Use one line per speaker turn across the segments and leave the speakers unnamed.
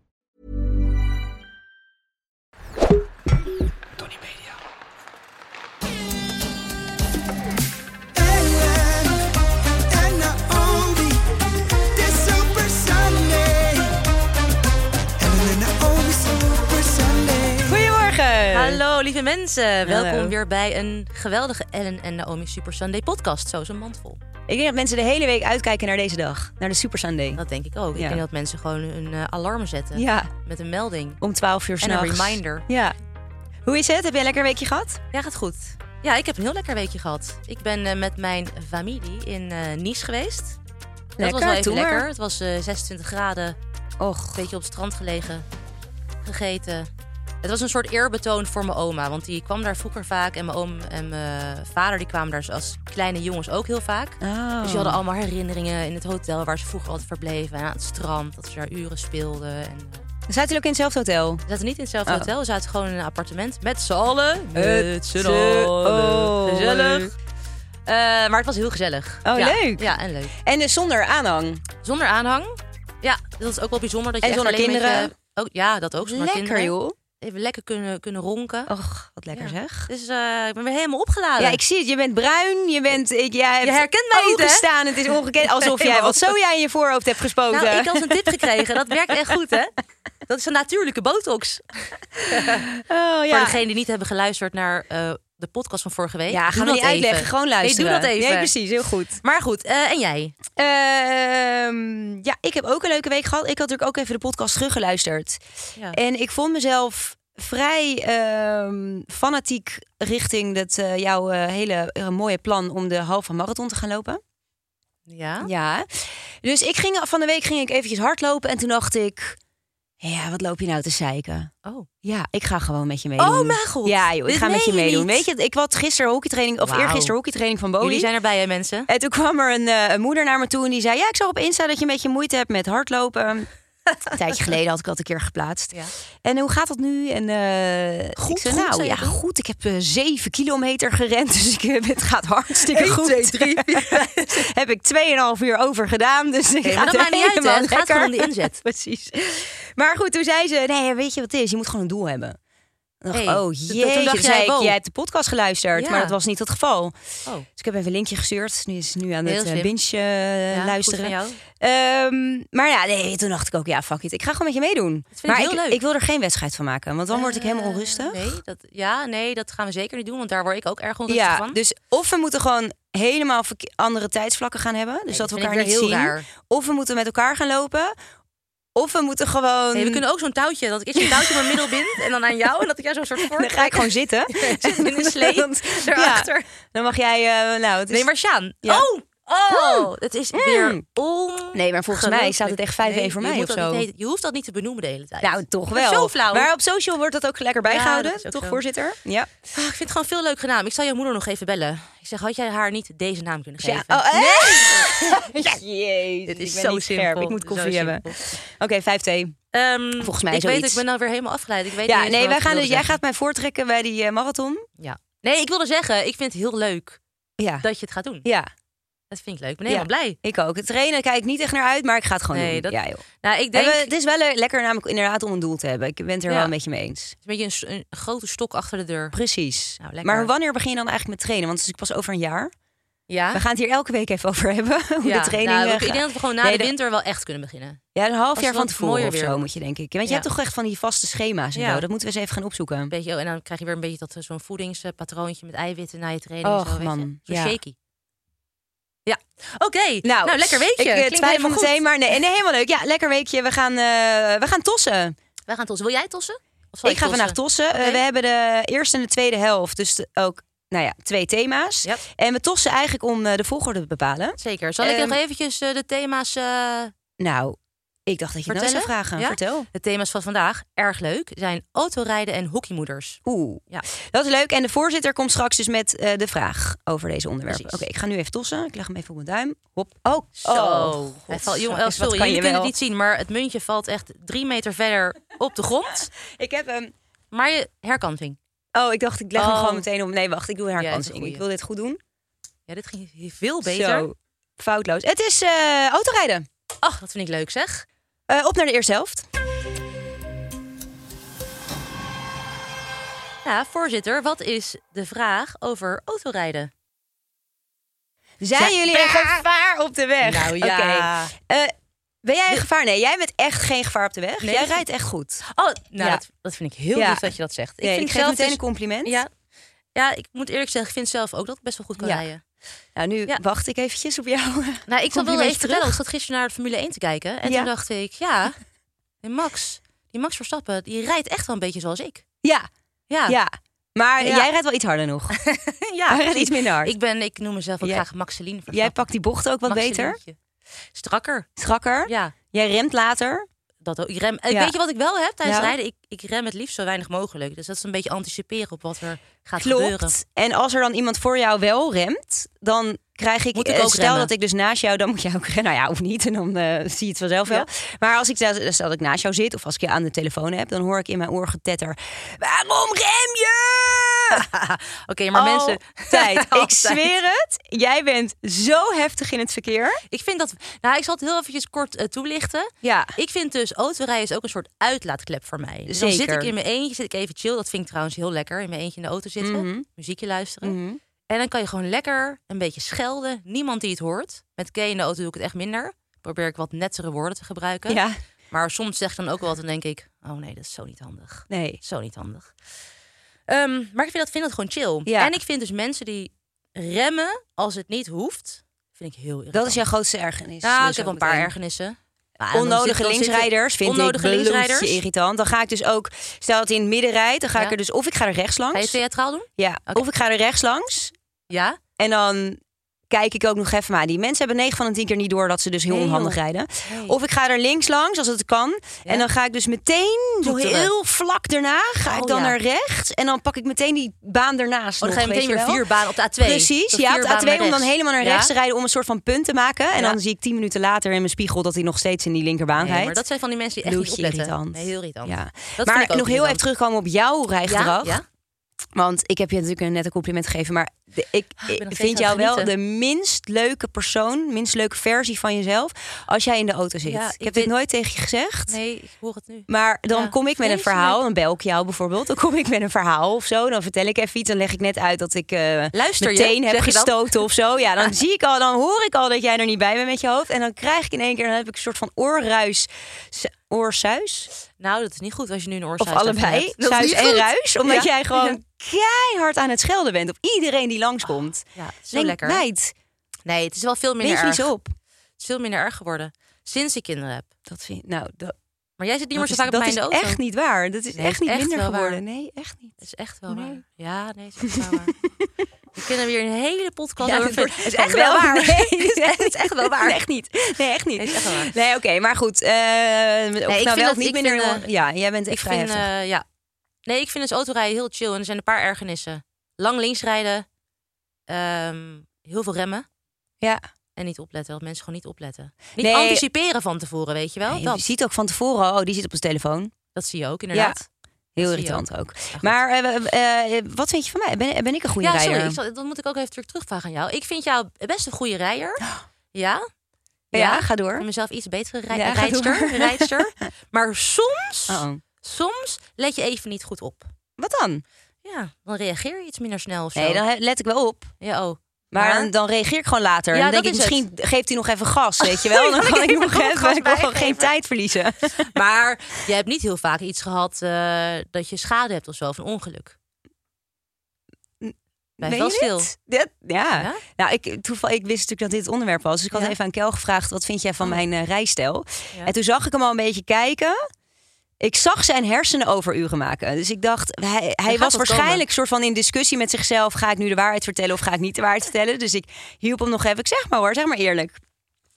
Tony Media.
And not only this Super Sunday. And then not only Super Sunday.
Goedemorgen.
Hallo lieve mensen,
Hallo.
welkom weer bij een geweldige Ellen en Naomi Super Sunday podcast. Zo is een mand vol.
Ik denk dat mensen de hele week uitkijken naar deze dag. Naar de Super Sunday.
Dat denk ik ook.
Ja.
Ik denk dat mensen gewoon hun eh, alarmen zetten
Ja,
met een melding.
om 12 uur
En een
s'nachts.
reminder.
Ja. Hoe is het? Heb jij een lekker weekje gehad?
Ja, gaat goed. Ja, ik heb een heel lekker weekje gehad. Ik ben eh, met mijn familie in eh, Nice geweest. dat
Lekker,
was wel even
doe maar.
lekker. Het was eh, 26 graden,
Och.
een beetje op het strand gelegen, gegeten. Het was een soort eerbetoon voor mijn oma, want die kwam daar vroeger vaak. En mijn oom en mijn vader die kwamen daar als kleine jongens ook heel vaak.
Oh.
Dus die hadden allemaal herinneringen in het hotel waar ze vroeger altijd verbleven. En aan het strand, dat ze daar uren speelden. En, eh,
Zaten jullie ook in hetzelfde hotel?
we zaten niet in hetzelfde
Oh.
hotel, we zaten gewoon in een appartement. Met z'n allen.
Met z'n allen.
Gezellig. Eh, maar het was heel gezellig.
Oh,
Ja.
leuk.
Ja, en leuk.
En dus zonder aanhang.
Zonder aanhang. Ja, dat is ook wel bijzonder. Dat je
En
echt
zonder
alleen met
kinderen.
je- ook, ja, dat ook. Zonder
Lekker
kinderen.
joh.
Even lekker kunnen, kunnen ronken.
Och, wat Oh, lekker
Ja.
zeg.
Dus eh, ik ben weer helemaal opgeladen.
Ja, ik zie het. Je bent bruin. Je, bent, ik, jij hebt
herkent mij niet, hè?
gestaan. Het is ongekend. Alsof jij wat zo jij in je voorhoofd hebt gespoten.
nou, ik had een tip gekregen. Dat werkt echt goed, hè? Dat is een natuurlijke botox.
oh, ja.
Voor degenen die niet hebben geluisterd naar eh, de podcast van vorige week.
ja,
doe
gaan we
dat
niet uitleggen.
even.
Gewoon luisteren.
Nee, doe dat even.
Nee, precies. Heel goed.
Maar goed, eh, en jij?
Ehm, ja, ik heb ook een leuke week gehad. Ik had natuurlijk ook even de podcast teruggeluisterd.
Ja.
En ik vond mezelf vrij ehm, fanatiek richting dat, eh, jouw eh, hele eh, mooie plan om de halve marathon te gaan lopen.
Ja?
Ja. Dus ik ging, van de week ging ik eventjes hardlopen en toen dacht ik... Ja, wat loop je nou te zeiken?
Oh.
Ja, ik ga gewoon met je meedoen.
Oh, mijn god.
Ja, joh, ik
Dit
ga met
meen
je
je
meedoen.
niet.
Weet je, ik had gisteren hockeytraining, of
Wauw.
eergisteren hockeytraining van Boli.
oh, Jullie zijn erbij, hè, mensen?
En toen kwam er een, eh, een moeder naar me toe en die zei... ja, ik zag op Insta dat je een beetje moeite hebt met hardlopen. een tijdje geleden had ik dat een keer geplaatst.
Ja.
En hoe gaat dat nu? En, eh,
Goed,
ik zei,
goed,
nou
zei
ja,
je toen?
goed. Ik heb eh, zeven kilometer gerend, dus ik, eh, het gaat hartstikke goed. heb ik 2,5 uur over gedaan, dus ik
Oké,
ga
maar dat maakt niet uit, hè. Het gaat gewoon om de inzet.
Precies. Maar goed, toen zei ze, nee, weet je wat het is? Je moet gewoon een doel hebben. Ik dacht,
Hey,
oh
toen
jee, toen
dacht
dacht
jij,
jij,
wow.
jij hebt de podcast geluisterd,
Ja.
maar dat was niet het geval.
Oh.
Dus ik heb even een linkje gestuurd. Nu is het nu aan
Heel
het eh,
slim.
binge eh,
Ja,
luisteren.
goed van jou.
Ehm, maar ja, nee, toen dacht ik ook, ja, fuck it. Ik ga gewoon met je meedoen.
vind ik
maar
heel
ik,
leuk.
ik wil er geen wedstrijd van maken, want dan word ik helemaal
Eh,
onrustig.
Nee, dat, ja, nee, dat gaan we zeker niet doen, want daar word ik ook erg onrustig
ja,
van.
dus of we moeten gewoon helemaal verke- andere tijdsvlakken gaan hebben, dus
Nee,
dat we
vind ik
elkaar
weer
niet
heel
zien.
raar.
Of we moeten met elkaar gaan lopen. Of we moeten gewoon.
Nee, we kunnen ook zo'n touwtje, dat ik eerst een touwtje om mijn middel bind en dan aan jou en dat ik jou zo'n soort vork
Dan ga ik gewoon zitten.
zit in een slee
ja,
erachter.
dan mag jij. eh, nou, het is-
Nee, maar Sjaan.
Ja.
Oh! Oh! Het is weer
Mm.
on...
Nee, maar volgens mij staat het echt 5-1
Nee,
voor
je
mij
moet
of
dat
zo.
niet weten. je hoeft dat niet te benoemen de hele tijd.
Nou, toch
Dat is
wel.
zo flauw.
Maar op social wordt dat ook lekker bijgehouden,
dat is ook
toch,
zo.
voorzitter? Ja.
Ah, ik vind het gewoon veel leuk genaamd. Ik zal jouw moeder nog even bellen. Ik zeg, had jij haar niet deze naam kunnen geven?
Ja. Oh, nee! Jezus,
Dit is
ik ben
zo
niet
simpel.
scherp. Ik moet
Zo
koffie hebben.
simpel.
Oké, 5-2.
Ehm,
Volgens mij
ik
zoiets.
Weet, ik ben nou weer helemaal afgeleid. Ik weet
Ja,
niet eens
nee,
meer
wij
wat ik
gaan dus, jij
wilde
gaat mij voortrekken bij die eh, marathon.
zeggen. Ja. Nee, ik wilde zeggen, ik vind het heel leuk
Ja.
dat je het gaat doen.
Ja,
Dat vind ik leuk. Ik ben helemaal blij.
ik ook. Het trainen kijk ik niet echt naar uit, maar ik ga het gewoon
Nee,
doen.
dat-
Ja, joh.
Nou, ik
En
denk,
we-
het
het is wel le- lekker namelijk inderdaad om een doel te hebben. Ik ben het er
Ja.
wel een beetje mee eens.
is een beetje een, s- een grote stok achter de deur.
Precies.
Nou, lekker.
maar wanneer begin je dan eigenlijk met trainen? Want het is pas over een jaar.
Ja?
We gaan het hier elke week even over hebben. Hoe
Ah. ja.
de training
Nou,
eh,
ik
gaat.
denk dat we gewoon na
Nee,
de winter wel echt kunnen beginnen.
Ja, een half
Als
jaar
het
van
wat
tevoren
mooier
of
weer
zo
wordt.
moet je denk ik. Want je
Ja.
hebt toch echt van die vaste schema's en
Ja.
zo. Dat moeten we eens even gaan opzoeken.
Beetje, oh, en dan krijg je weer een beetje dat eh, zo'n voedingspatroontje met eiwitten na je training. en
Och,
zo, weet je.
man,
Zo
ja.
shaky. Ja, oké. Nou, lekker weekje.
Ik eh,
Klinkt
twijfel
helemaal goed.
meteen, maar nee, nee, helemaal leuk. Ja, lekker weekje. We gaan, eh, we gaan tossen.
Wij gaan tossen. Wil jij tossen? Of zal
Ik, ga vandaag tossen. Eh,
Oké.
we hebben de eerste en de tweede helft. Dus de- ook, nou ja, twee thema's.
Yep.
En we tossen eigenlijk om eh, de volgorde te bepalen.
Zeker. Zal ik
Ehm,
nog eventjes eh, de thema's... eh,
Nou, ik dacht dat je het nou
Vertellen?
eens zou vragen.
Ja?
Vertel.
de thema's van vandaag, erg leuk, zijn autorijden en hockeymoeders.
Oeh,
Ja.
dat is leuk. En de voorzitter komt straks dus met eh, de vraag over deze onderwerpen. Oké,
Precies.
ik ga nu even tossen. Ik leg hem even op mijn duim. Hop. Oh,
Zo.
Oh,
Hij
God.
valt, jongen,
Wat
eh, sorry,
kan
jullie
je
kunnen
wel?
het niet zien, maar het muntje valt echt drie meter verder op de grond.
Ik heb hem.
Maar je herkanting.
Oh, ik dacht, ik leg hem
Oh.
gewoon meteen om. Nee, wacht, ik doe een
is een
herkansing.
goeie.
ik wil dit goed doen.
Ja, dit ging veel beter.
Zo, foutloos. Het is eh, autorijden.
Ach, dat vind ik leuk zeg.
Eh, op naar de eerste helft.
Ja, voorzitter, wat is de vraag over autorijden?
Zijn jullie in gevaar op de weg?
Nou ja.
Oké. Eh, ben jij in gevaar? Nee, jij bent echt geen gevaar op de weg.
Nee,
jij
dat-
rijdt echt goed.
Oh, nou,
Ja.
dat, dat vind ik heel
Ja.
lief dat je dat zegt.
Nee, ik,
vind
geef
zelf
meteen
dus-
een compliment.
Ja. ja, ik moet eerlijk zeggen, ik vind zelf ook dat ik best wel goed kan
Ja.
rijden.
Nou, nu
Ja.
wacht ik eventjes op jou.
Nou, ik zal wel
Compliment
even vertellen.
terug.
Ik zat gisteren naar de Formule 1 te kijken. En
Ja.
toen dacht ik, ja, die Max, die Max Verstappen, die rijdt echt wel een beetje zoals ik.
Ja,
Ja,
ja. Maar
Ja.
Ah. Eh, jij rijdt wel iets harder nog.
ja
hij rijdt iets minder hard.
Ik, ben, ik noem mezelf ook
Jij-
graag Maxeline Verstappen.
jij pakt die bocht ook wat beter.
Maxelientje. Strakker,
Strakker.
ja.
Jij remt later.
Dat ook. Ik rem, eh,
Ja.
Weet je wat ik wel heb tijdens
Nou?
rijden? Ik, ik rem het liefst zo weinig mogelijk. Dus dat is een beetje anticiperen op wat er gaat gebeuren.
Klopt. En als er dan iemand voor jou wel remt, dan krijg ik...
Moet ik
eh,
ook
stel
remmen?
dat ik dus naast jou, dan moet jij ook rennen. Nou ja, of niet. En dan eh, zie je het vanzelf wel. Maar als ik, stel dat ik naast jou zit, of als ik je aan de telefoon heb... dan hoor ik in mijn oor getetter... Waarom rem je?
Oké, maar mensen...
Tijd. Ik
Altijd.
zweer het. Jij bent zo heftig in het verkeer.
Ik vind dat... Nou, ik zal het heel eventjes kort eh, toelichten.
Ja.
Ik vind dus autorijden is ook een soort uitlaatklep voor mij. Dus dan
Zeker.
zit ik in mijn eentje, zit ik even chill. Dat vind ik trouwens heel lekker. In mijn eentje in de auto zitten,
Mhm.
muziekje luisteren. En dan kan je gewoon lekker een beetje schelden. Niemand die het hoort. Met Kay in de auto doe ik het echt minder. Probeer ik wat nettere woorden te gebruiken.
Ja.
Maar soms zeg ik dan ook wel wat en denk ik... Oh nee, dat is zo niet handig.
Nee.
Zo niet handig. Ehm, maar ik vind dat, vind dat gewoon chill.
Ja.
En ik vind dus mensen die remmen als het niet hoeft... vind ik heel irritant.
Dat is jouw grootste ergernis.
Nou,
Dus
ik heb
ook
een paar
meteen.
ergernissen. Ah, dan zit-
Onnodige
dan zit-
linksrijders vind
onnodige
ik
linksrijders.
bloedje irritant. Dan ga ik dus ook, stel dat hij in het midden rijdt, dan ga
Ja.
ik er dus of ik ga er rechts
Ga je
langs.
theatraal doen?
Ja,
Oké.
of ik ga er rechts langs.
Ja. Oh,
En dan kijk ik ook nog even maar. Die mensen hebben 9 van de 10 keer niet door dat ze dus heel
Nee,
onhandig
joh.
rijden.
Nee.
Of ik ga er links langs als het kan. En dan ga ik dus meteen zo
Toeteren.
heel vlak daarna ga ik
Oh,
dan
ja.
naar rechts en dan pak ik meteen die baan daarnaast.
Oh, dan
nog,
ga je
weet
meteen weer
wel.
vier banen op de A2.
Precies,
Dat
ja,
vier
op
banen
de A2 om dan
rechts.
helemaal naar
Ja?
rechts te rijden om een soort van punt te maken. En
Ja.
dan zie ik 10 minuten later in mijn spiegel dat hij nog steeds in die linkerbaan
Nee,
rijdt.
maar dat zijn van die mensen die echt
Bloedje
niet opletten.
irritant.
Nee, heel irritant.
Ja.
Dat
maar
vind ik
nog heel
ook
even
irritant.
terugkomen op jouw rijgedrag.
Ja? ja?
Want ik heb je natuurlijk net een compliment gegeven. Maar de- ik,
Ah, ben nog
ik
steeds
vind
aan
jou
het
wel de
genieten.
minst leuke persoon, minst leuke versie van jezelf. Als jij in de auto zit.
Ja,
ik
ik
heb
weet-
dit nooit tegen je gezegd.
Nee, ik hoor het nu.
Maar dan
Ja,
kom ik met een
vreselijk.
verhaal, dan bel ik jou bijvoorbeeld. Dan kom ik met een verhaal of zo. Dan vertel ik even iets. Dan leg ik net uit dat ik eh
Luister je,
meteen heb
zeg je dan?
gestoten of zo. Ja, dan zie ik al, dan hoor ik al dat jij er niet bij bent met je hoofd. En dan krijg ik in één keer, dan heb ik een soort van oorruis. su- Oorsuis?
Nou, dat is niet goed als je nu een
Of
oorzaak
allebei.
Dat is
Suis
niet
en
goed.
ruis. Omdat
Ja. Ah,
jij gewoon keihard aan het schelden bent op iedereen die langskomt.
Ja, het is zo
Denk,
lekker.
Meid,
Nee, het is wel veel minder
wees
erg.
niet op.
Het is veel minder erg geworden sinds ik kinderen heb.
Dat vind nou, dat,
Maar jij zit niet
dat
meer zo
is, dat
vaak op mij in
is
de auto.
echt niet waar. Dat is
Nee,
echt
is
niet
echt
minder
wel waar.
geworden. Nee, echt niet.
Dat is echt wel
Nee.
waar. Ja, nee, dat is echt wel waar. Ik ken er weer een hele podcast
Ja,
over.
dat wordt-
Het is echt wel waar. Het is echt wel waar.
Echt niet. Nee, echt niet.
Nee, het is echt wel waar.
Nee, oké, maar goed. eh, of nou
vind
wel of
dat-
niet
ik
minder.
vind, eh,
jongen. ja, jij bent echt
Ik
vrij
vind,
heftig.
eh, ja. Nee, ik vind dus autorijden heel chill. En er zijn een paar ergernissen. Lang links rijden. ehm, heel veel remmen.
ja.
En niet opletten. Dat mensen gewoon niet opletten. Niet
Nee.
anticiperen van tevoren, weet je wel.
Nee, je
dat,
ziet ook van tevoren, al, oh, die zit op zijn telefoon.
dat zie je ook, inderdaad.
Heel
zie je
irritant ook. Maar eh, eh, wat vind je van mij? Ben, ben ik een goede
Ja,
rijder?
sorry. Ik zal, dat moet ik ook even terug terugvragen aan jou. Ik vind jou best een goede rijder. Ja.
Ja, ga door.
Ik vind mezelf iets betere rij
Ja, ga door.
rijdster, rijdster. Maar soms,
Uh-oh.
soms let je even niet goed op.
Oh, Wat dan?
Ja, dan reageer je iets minder snel of zo.
Nee, dan he- let ik wel op.
Ja, oh.
Maar
Maar-
dan, dan reageer ik gewoon later.
Ja,
en dan denk
dat
ik,
is
misschien geeft hij nog even gas, weet je wel. Dan
Ja,
kan
ik
ik nog
even
even,
gas
ik wil gewoon
bijgeven.
geen tijd verliezen.
Maar je hebt niet heel vaak iets gehad eh, dat je schade hebt of zo, of een ongeluk. Blijf wel
je
stil.
dit? Dit- ja.
Ja?
Nou, ik, toeval, ik wist natuurlijk dat dit het onderwerp was. Dus ik had
Ja. Oh.
even aan Kel gevraagd, wat vind jij van mijn eh, rijstijl?
Ja.
En toen zag ik hem al een beetje kijken. Ik zag zijn hersenen overuren maken. Dus ik dacht, hij, hij
gaat
was
wat
waarschijnlijk
komen.
soort van in discussie met zichzelf. Ga ik nu de waarheid vertellen of ga ik niet de waarheid vertellen? Dus ik hielp hem nog even. Ik zeg maar hoor, zeg maar eerlijk.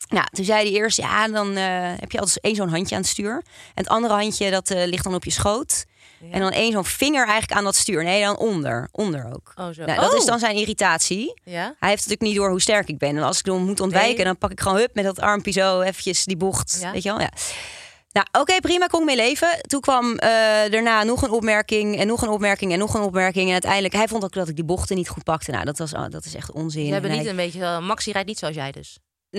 Nou, toen zei hij eerst, ja, dan eh, heb je altijd één zo'n handje aan het stuur. En het andere handje, dat eh, ligt dan op je schoot. En dan één zo'n vinger eigenlijk aan dat stuur. Nee, dan onder. Onder ook.
Oh, zo.
Nou, dat
Oh.
is dan zijn irritatie.
Ja?
Hij heeft natuurlijk niet door hoe sterk ik ben. En als ik hem moet ontwijken,
Nee.
dan pak ik gewoon hup met dat armpje zo eventjes die bocht.
Ja.
Weet je wel? Ja. Nou, oké, prima, kon ik mee leven. Toen kwam eh, daarna nog een opmerking en nog een opmerking en nog een opmerking. En uiteindelijk, hij vond ook dat ik die bochten niet goed pakte. Nou, dat, was, oh, dat is echt onzin.
Ze hebben
En
niet
hij-
een beetje... eh, Maxi rijdt niet zoals jij dus.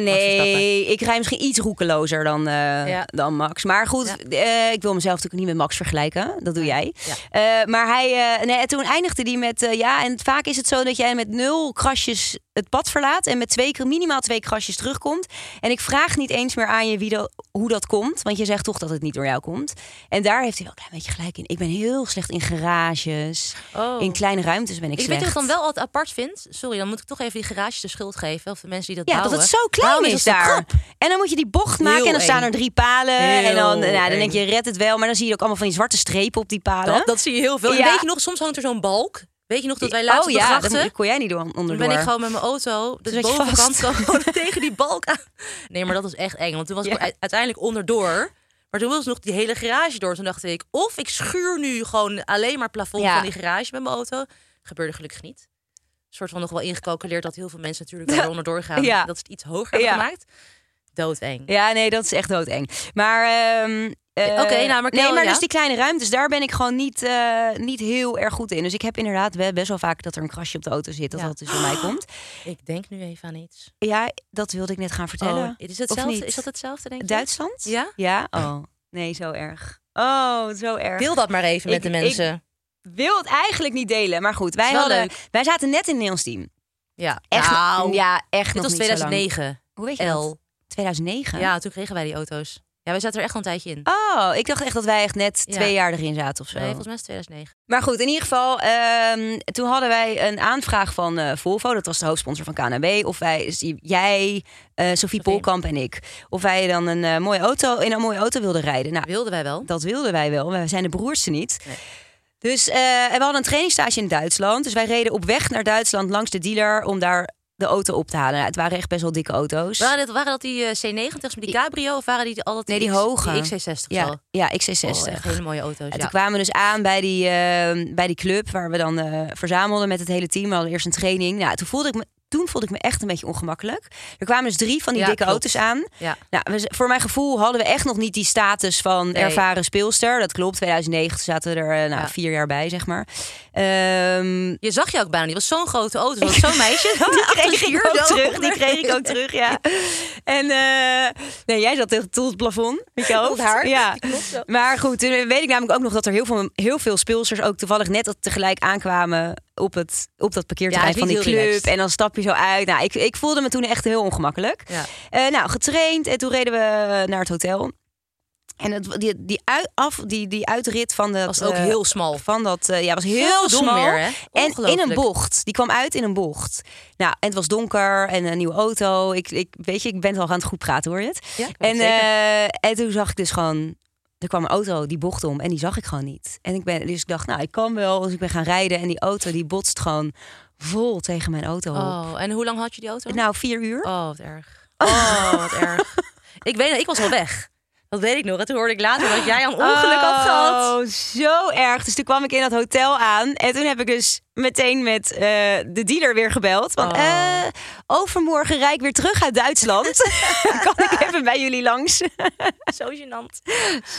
Nee, ik rij misschien iets roekelozer dan, eh,
Ja.
dan Max. Maar goed, eh, ik wil mezelf natuurlijk niet met Max vergelijken. Dat doe jij.
Ja.
Eh, maar hij, eh, nee, en toen eindigde hij met... eh, ja, en vaak is het zo dat jij met nul krasjes het pad verlaat... en met twee, keer- minimaal twee krasjes terugkomt. En ik vraag niet eens meer aan je wie dat- hoe dat komt. Want je zegt toch dat het niet door jou komt. En daar heeft hij wel een klein beetje gelijk in. Ik ben heel slecht in garages.
Oh.
In kleine ruimtes ben ik,
Ik weet
slecht.
wat ik dan wel altijd apart vind. Sorry, dan moet ik toch even die garages de schuld geven. Of de mensen die dat
Ja, dat
bouwen.
het zo klein
Waarom
is,
dat zo
daar.
krap?
En dan moet je die bocht maken
Heel
en dan staan
eng.
er drie palen. en dan,
Heel
nou, dan
eng.
denk je, red het wel. Maar dan zie je ook allemaal van die zwarte strepen op die palen.
Dat, dat zie je heel veel. En
Ja.
weet je nog, soms hangt er zo'n balk. Weet je nog dat wij laatst
oh
op de
ja,
grachten...
daar kon jij niet door
Toen
onderdoor.
ben ik gewoon met mijn auto, de
zat je
bovenkant,
vast.
gewoon tegen die balk aan. Nee, maar dat was echt eng. Want toen was
Ja.
ik u- uiteindelijk onderdoor. Maar toen wilde ze nog die hele garage door. Toen dacht ik, of ik schuur nu gewoon alleen maar plafond
Ja.
van die garage met mijn auto. Gebeurde gelukkig niet. Een soort van nog wel ingecalculeerd dat heel veel mensen natuurlijk wel onderdoor gaan.
Ja.
Dat is het iets hoger hebben
Ja.
gemaakt. Doodeng.
Ja, nee, dat is echt doodeng. Maar... ehm, eh,
Oké, nou, maar
nee,
Kel,
maar
ja.
dus die kleine ruimtes, daar ben ik gewoon niet, eh, niet heel erg goed in. Dus ik heb inderdaad wel- best wel vaak dat er een krasje op de auto zit, dat
Ja.
dat dus bij mij komt.
Ik denk nu even aan iets.
Ja, dat wilde ik net gaan vertellen.
Oh, is,
Of niet?
hetzelfde, is dat hetzelfde, denk je?
Duitsland?
Oh. Ja?
Ja? Oh, nee, zo erg. Oh, zo erg.
Deel dat maar even
Ik-
met de
ik-
mensen.
wil het eigenlijk niet delen. Maar goed, wij,
Is wel
hadden,
leuk.
wij zaten net in het Nederlands team.
ja.
Echt,
Nou,
ja, echt
dit
nog
was
niet zo lang.
2009.
Hoe weet je dat?
L.
2009?
Ja, toen kregen wij die auto's. Ja, wij zaten er echt al een tijdje in.
Oh, ik dacht echt dat wij echt net
Ja.
twee jaar erin zaten of zo.
Nee, volgens mij is het 2009.
Maar goed, in ieder geval, ehm, toen hadden wij een aanvraag van eh, Volvo, dat was de hoofdsponsor van KNB, of wij, dus die- jij, eh Sophie Polkamp en ik, of wij dan een eh, mooie auto in een mooie auto wilden rijden. Nou,
Wilden wij wel.
dat wilden wij wel, maar we zijn de broerste niet. Dus eh, en we hadden een trainingstage in Duitsland. Dus wij reden op weg naar Duitsland langs de dealer om daar de auto op te halen. Nou, het waren echt best wel dikke auto's.
Waren, dit, waren dat die eh, C90's met die cabrio of waren die altijd
nee, die
X-
hoge.
Die XC60
Ja,
al.
ja XC60.
Oh, echt hele mooie
En
auto's. ja.
toen kwamen we dus aan bij die, eh, bij die club waar we dan eh, verzamelden met het hele team. We hadden eerst een training. Nou, toen voelde ik me, toen voelde ik me echt een beetje ongemakkelijk. Er kwamen dus drie van die
Ja,
dikke
klopt.
auto's aan.
Ja.
Nou, we z- voor mijn gevoel hadden we echt nog niet die status van ervaren speelster. Dat klopt, 2009 zaten we er eh, nou,
Ja.
vier jaar bij, zeg maar. Ehm
Je zag je ook bijna, die was zo'n grote auto. Dat was zo'n meisje.
die kreeg
Achter
ik
het stuur,
ook
zo.
terug. Die kreeg ik ook terug, ja. En eh, nee, jij zat tegen tot het plafond. Met je hoofd.
haar.
Ja. Maar goed, toen weet ik namelijk ook nog dat er heel veel, heel veel speelsters ook toevallig net tegelijk aankwamen op, het, op dat parkeerterrein
Ja, het is
van die
niet
club.
heel relaxed.
En dan stap je zo uit. Nou, ik, ik voelde me toen echt heel ongemakkelijk.
Ja.
Eh, nou, getraind en toen reden we naar het hotel. En het, die, die, uit, af, die, die uitrit van de.
Was ook heel smal.
Van dat, eh, ja, was heel
Heel dom
smal.
weer, hè?
En in een
Ongelooflijk.
bocht. Die kwam uit in een bocht. Nou, en het was donker en een nieuwe auto. Ik, ik weet je, ik ben al aan het goed praten, hoor je het?
Ja, ik weet
en,
het zeker.
eh, en toen zag ik dus gewoon. Er kwam een auto die bocht om en die zag ik gewoon niet. En ik ben, dus ik dacht, nou, ik kan wel. Dus ik ben gaan rijden en die auto die botst gewoon vol tegen mijn auto. op.
Oh, en hoe lang had je die auto?
Nou, vier uur.
Oh, wat erg. Oh, wat erg. Ik weet nog, ik was wel weg. Dat weet ik nog. En toen hoorde ik later dat jij een ongeluk had gehad.
Oh, zo erg. Dus toen kwam ik in dat hotel aan. En toen heb ik dus meteen met eh, de dealer weer gebeld. Want
Oh.
eh, overmorgen rijd ik weer terug uit Duitsland. kan ik even bij jullie langs?
Zo gênant.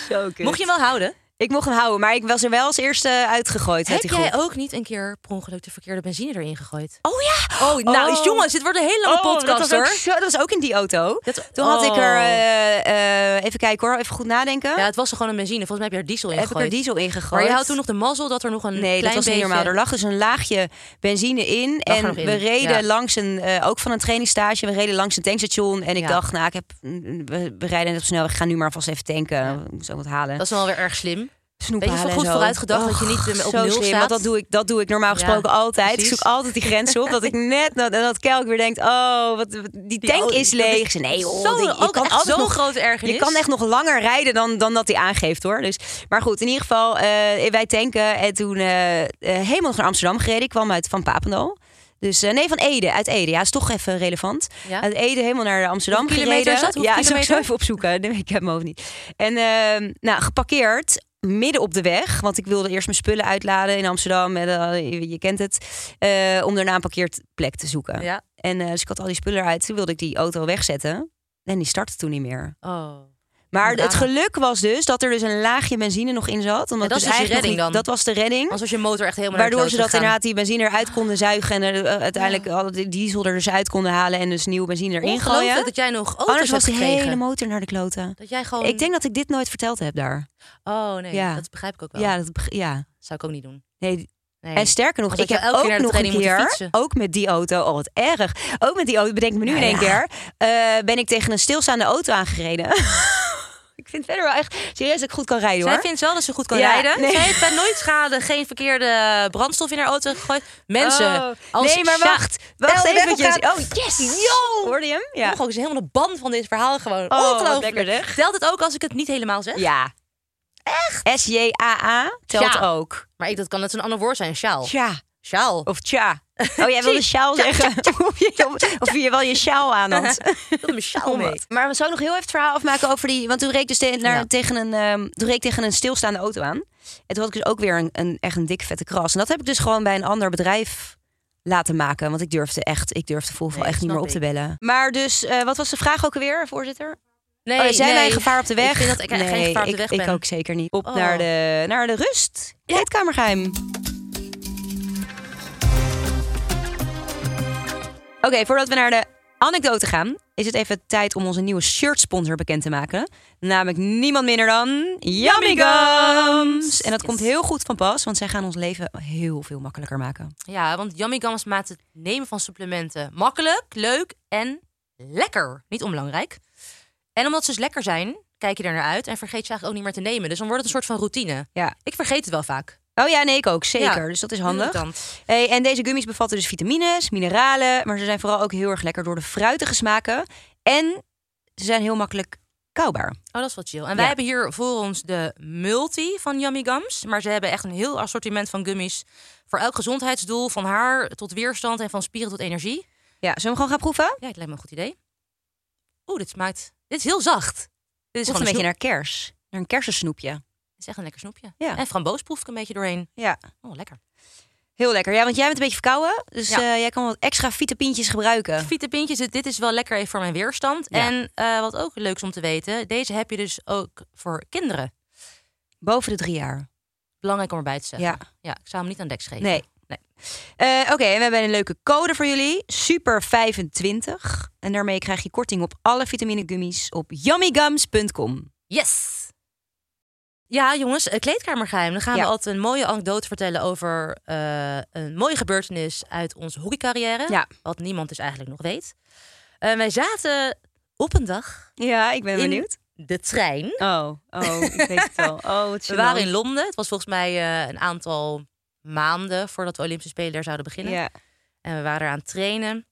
zo kut.
Mocht je hem wel houden?
Ik mocht hem houden, maar ik was er wel als eerste uitgegooid. uit
Heb
die
jij
groep.
ook niet een keer per ongeluk de verkeerde benzine erin gegooid?
Oh ja,
Oh, nou jongens, dit wordt een hele lange
Oh,
podcast
dat was, ook,
hoor.
zo- dat was ook in die auto.
Dat-
Toen had ik er,
oh.
eh, eh, even kijken hoor, even goed nadenken.
Ja, het was er gewoon een benzine. Volgens mij heb je er diesel in
heb ik er
gegooid.
diesel in gegooid.
Maar je houdt toen nog de mazzel dat er nog een
Nee,
klein
dat was niet
beetje...
normaal. Er lag dus een laagje benzine in.
Lag er
en
nog in,
we reden
ja.
langs een, eh, ook van een trainingsstage, we reden langs een tankstation. En ik
Ja.
dacht, nou, ik heb, mm, we, we rijden net op snelweg, ik ga nu maar vast even tanken. Ik moest ook wat halen.
Dat is wel weer erg slim.
Snoep
Weet je,
halen
zo goed
en
vooruitgedacht dat je
Och,
niet, eh, op
zo
nul
slim,
staat.
want dat doe ik, dat doe ik normaal gesproken
Ja,
altijd. Ik
precies.
zoek altijd die grens op. dat ik net dat, dat Kelk weer denkt, oh, wat, wat- die tank
oh,
is
dat is
leeg. Ik zei, nee, joh,
zo-
die- je
ook
kan
echt
altijd
zo'n
nog
grote ergernis.
Je kan echt nog langer rijden dan, dan dat hij aangeeft, hoor. Dus, maar goed, in ieder geval, eh, wij tanken en toen eh, eh, helemaal nog naar Amsterdam gereden. Ik kwam uit van Papendal. Dus eh, nee, van Ede, uit Ede. Ja, is toch even relevant.
Ja.
Uit Ede helemaal naar Amsterdam
Hoeveel
gereden.
kilometer is dat? Hoeveel
ja, zou ik zo
kilometer?
even opzoeken. Nee, ik heb hem ook niet. En ehm, nou, geparkeerd midden op de weg. Want ik wilde eerst mijn spullen uitladen in Amsterdam. En, eh, je, je kent het. eh, om daarna een parkeerplek te zoeken.
Ja.
En eh, dus ik had al die spullen eruit. Toen wilde ik die auto wegzetten. En die startte toen niet meer.
Oh.
Maar
Ja.
het geluk was dus dat er dus een laagje benzine nog in zat. Omdat
Ja,
ik
dat is dus je
eigenlijk nog
redding
niet-
dan.
Dat was de redding.
Anders was je motor echt helemaal naar de
Waardoor ze
kloot
dat
gegaan.
inderdaad die benzine eruit konden zuigen. En er, eh, uiteindelijk alle die diesel er dus uit konden halen. En dus nieuwe benzine erin
Ongelooflijk
gooien.
dat jij nog auto's
Anders was
hebt
de
gekregen.
hele motor naar de kloten.
Dat jij gewoon...
Ik denk dat ik dit nooit verteld heb daar.
Oh nee,
Ja.
dat begrijp ik ook wel.
Ja, dat, beg- ja.
zou ik ook niet doen.
Nee,
Nee.
En sterker nog,
Want
ik
dat je
heb
elke keer
ook
naar de
nog een
training moet
keer,
fietsen.
ook met die auto, oh wat erg. Ook met die auto, bedenk ik me nu in één keer, eh, ben ik tegen een stilstaande auto aangereden. ik vind verder wel echt serieus dat ik goed kan rijden hoor.
Zij vindt wel dat ze goed kan
Ja,
rijden.
nee.
Zij heeft bij nooit schade geen verkeerde brandstof in haar auto gegooid. Mensen,
Oh.
als
nee, maar
Sja-
wacht. Wacht
Bel de weg
eventjes. Oh,
opgaat.
yes. Yo. Hoorde je hem?
Ja. Oh, Ongelooflijk, ze is helemaal de ban van dit verhaal gewoon.
wat lekker,
Ongelooflijk.
zeg.
Telt het ook als ik het niet helemaal zeg?
Ja. Echt? S-J-A-A telt
Tja.
ook.
Maar ik, dat kan net zo'n ander woord zijn. Sjaal.
Tja.
Sjaal.
Of tja. Oh, jij wilde sjaal zeggen. Of je- Of je wel je sjaal aan had.
Ik wil mijn sjaal mee.
Maar we zouden nog heel even het verhaal afmaken over die... Want toen reed ik dus te- naar,
Ja.
tegen, een, ehm, toen reed ik tegen een stilstaande auto aan. En toen had ik dus ook weer een, een, echt een dikke vette kras. En dat heb ik dus gewoon bij een ander bedrijf laten maken. Want ik durfde echt, ik durfde Volvo
Nee,
echt niet
snap
meer op te
ik.
bellen. Maar dus, eh, wat was de vraag ook alweer, voorzitter?
Nee,
Oh, zijn wij
nee.
een gevaar op de weg?
Ik vind dat ik
nee,
geen gevaar op de
ik,
weg
ik
ben.
ook zeker niet. Op
Oh.
naar, de, naar de rust. Kleedkamergeheim. Oké, voordat we naar de anekdote gaan... is het even tijd om onze nieuwe shirtsponsor bekend te maken. Namelijk niemand minder dan... Yummy Gums! En dat komt heel goed van pas, want zij gaan ons leven heel veel makkelijker maken.
Ja, want Yummy Gums maakt het nemen van supplementen makkelijk, leuk en lekker. Niet onbelangrijk. En omdat ze dus lekker zijn, kijk je er naar uit en vergeet je eigenlijk ook niet meer te nemen. Dus dan wordt het een soort van routine.
Ja.
Ik vergeet het wel vaak.
Oh ja, nee, ik ook. Zeker.
Ja, Mm,
dus dat is
heel
handig.
irritant.
Hey, en deze gummies bevatten dus vitamines, mineralen, maar ze zijn vooral ook heel erg lekker door de fruitige smaken. En ze zijn heel makkelijk kauwbaar.
Oh, dat is wel chill. En wij
Ja.
hebben hier voor ons de multi van Yummy Gums. Maar ze hebben echt een heel assortiment van gummies. Voor elk gezondheidsdoel, van haar tot weerstand en van spieren tot energie.
Ja, zullen we gewoon gaan proeven?
Ja, het lijkt me een goed idee. Oeh, dit smaakt... Dit is heel zacht. Dit is
Het is
gewoon
een beetje
snoep-
naar kers. Naar een kersensnoepje.
Het is echt een lekker snoepje.
Ja.
En framboos proef ik een beetje doorheen.
Ja,
Oh, lekker.
heel lekker. Ja, want jij bent een beetje verkouden, dus
Ja.
eh, jij kan wat extra vitamintjes gebruiken.
Vitamintjes, dit- dit is wel lekker even voor mijn weerstand.
Ja.
En eh, wat ook leuk is om te weten, deze heb je dus ook voor kinderen.
Boven de drie jaar.
Belangrijk om erbij te zeggen.
Ja.
ik zou hem niet aan deks geven.
Nee. Eh, Oké, en we hebben een leuke code voor jullie. Super25. En daarmee krijg je korting op alle vitamine gummies op yummygums.com.
Yes! Ja, jongens, eh, kleedkamergeheim. Dan gaan
Ja.
we altijd een mooie anekdote vertellen over eh, een mooie gebeurtenis uit onze hockeycarrière.
Ja.
Wat niemand dus eigenlijk nog weet. Eh, wij zaten op een dag
Ja, ik ben
in
benieuwd.
de trein.
Oh, oh, ik weet het al. Oh, wat
We waren in Londen. Het was volgens mij eh, een aantal maanden voordat we Olympische Spelen daar zouden beginnen.
Ja.
En we waren er aan het trainen.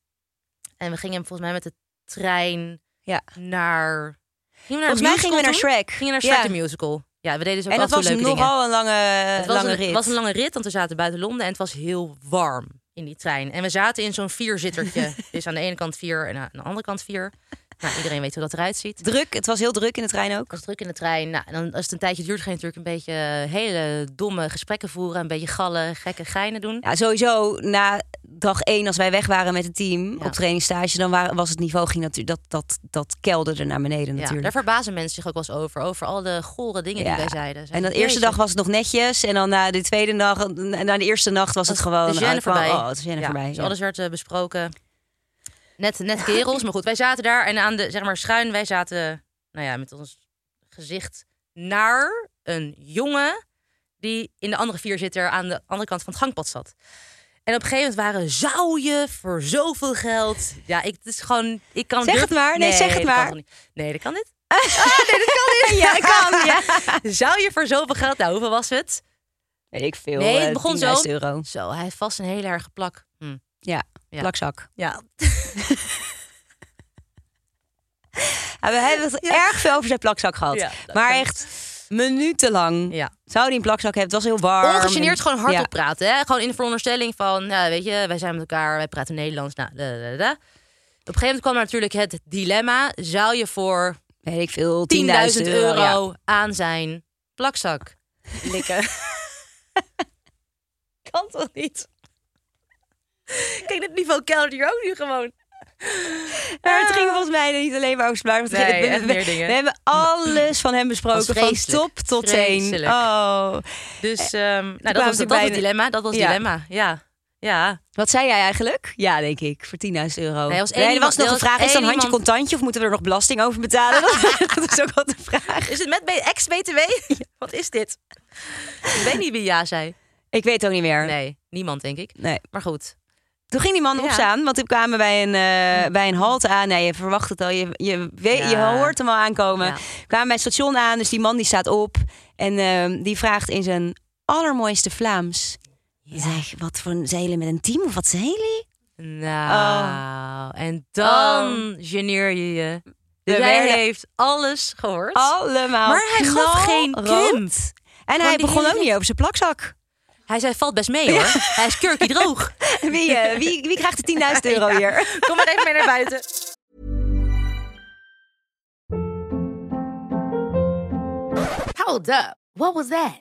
En we gingen volgens mij met de trein
Ja.
naar... Gingen we naar
Volgens mij gingen we naar Shrek.
Gingen naar Shrek
Ja.
de musical. Ja, we deden dus
En
ook
dat
af en toe
was
leuke dingen.
nogal een lange,
Het was
lange
een,
rit.
was een lange rit, want we zaten buiten Londen en het was heel warm in die trein. En we zaten in zo'n vierzittertje. dus aan de ene kant vier en aan de andere kant vier. Nou, iedereen weet hoe dat eruit ziet. Het
Druk, het was heel druk in de trein ook.
was druk in de trein. Nou, en dan, als het een tijdje duurt, ga je natuurlijk een beetje eh, hele domme gesprekken voeren. Een beetje gallen, gekke geinen doen.
Ja, sowieso na dag één, als wij weg waren met het team
Ja.
op trainingstage, dan wa- was het niveau ging natuurlijk dat, dat, dat kelderde naar beneden
Ja,
natuurlijk.
daar verbazen mensen zich ook wel eens over. Over al de gore dingen
Ja.
die wij zeiden. Zeiden,
En dan de eerste
"Jeetje."
dag was het nog netjes. En dan na de tweede dag, na de eerste nacht was het gewoon.
De
oh,
gêne
het kwam-
voorbij.
Oh, het is
Ja,
voorbij.
Dus
ja.
alles werd eh, besproken. Net, net kerels, maar goed. Wij zaten daar en aan de zeg maar, schuin, wij zaten nou ja, met ons gezicht naar een jongen die in de andere vierzitter aan de andere kant van het gangpad zat. En op een gegeven moment waren zou je voor zoveel geld. Ja, ik het is gewoon ik kan
Zeg het
durf-
maar. Nee, zeg het
dat kan
maar.
toch niet? Nee, dat kan dit.
Ja, dat kan. Ja.
Zou je voor zoveel geld? Nou, hoeveel was het?
Weet ik veel.
Nee, het
eh,
begon
10.000
zo.
euro.
Zo, hij heeft vast een hele erge plak. Hm.
Ja,
Ja.
plakzak.
Ja,
Ja, we hebben het erg veel over zijn plakzak gehad.
Ja,
maar echt minutenlang.
Ja.
Zou die een plakzak hebben? Het was heel warm.
Ongegeneerd gewoon hardop
Ja.
praten. Hè? Gewoon in de veronderstelling van, nou, weet je, wij zijn met elkaar, wij praten Nederlands. Nou, da, da, da, da. Op een gegeven moment kwam er natuurlijk het dilemma. Zou je voor 10.000
Weet ik veel. 10.000
euro,
euro. ja.
aan zijn plakzak likken? kan toch niet? Kijk, dit niveau keldert hier ook nu gewoon.
Maar het ging volgens mij niet alleen maar over zijn plakzak.
Nee,
Het- we,
echt
we-
meer dingen.
we hebben alles van hem besproken.
Was
Van
vreselijk.
top tot teen.
Vreselijk.
Oh.
Dus ehm, nou, dat
kwamen
was,
ze
dat was
bij
het
de-
dilemma. Dat was het
Ja.
dilemma, ja. Ja,
Wat zei jij eigenlijk? Ja, denk ik. Voor 10.000 euro.
Nee, er was één
er was nog
iemand-
een
er was
vraag. Is
één
dan handje
iemand-
contantje of moeten we er nog belasting over betalen? dat is ook wel de vraag.
Is het met B- ex-BTW? Wat is dit? Ik weet niet wie ja zei.
Ik weet het ook niet meer.
Nee, niemand denk ik.
Nee.
Maar goed.
Toen ging die man
Ja.
opstaan, want toen kwamen we bij een, eh, bij een halte aan. Nee, je verwacht het al, je, je, weet, je
Ja.
hoort hem al aankomen.
Ja.
We kwamen bij het station aan, dus die man die staat op. En ehm, die vraagt in zijn allermooiste Vlaams... Zeg, wat voor een zijn jullie met een team of wat zijn jullie?
Nou, en dan geneer je je. Dus hij
werden-
heeft alles gehoord.
Allemaal
maar hij gaf geen
knalrood.
kind.
En
Gewoon
hij
die
begon
hele-
ook niet over zijn plakzak.
Hij zei, valt best mee hoor. Hij is kurkie droog.
Wie, eh, wie, wie krijgt de 10.000 euro hier?
Kom maar even mee naar buiten.
Hold up. What was that?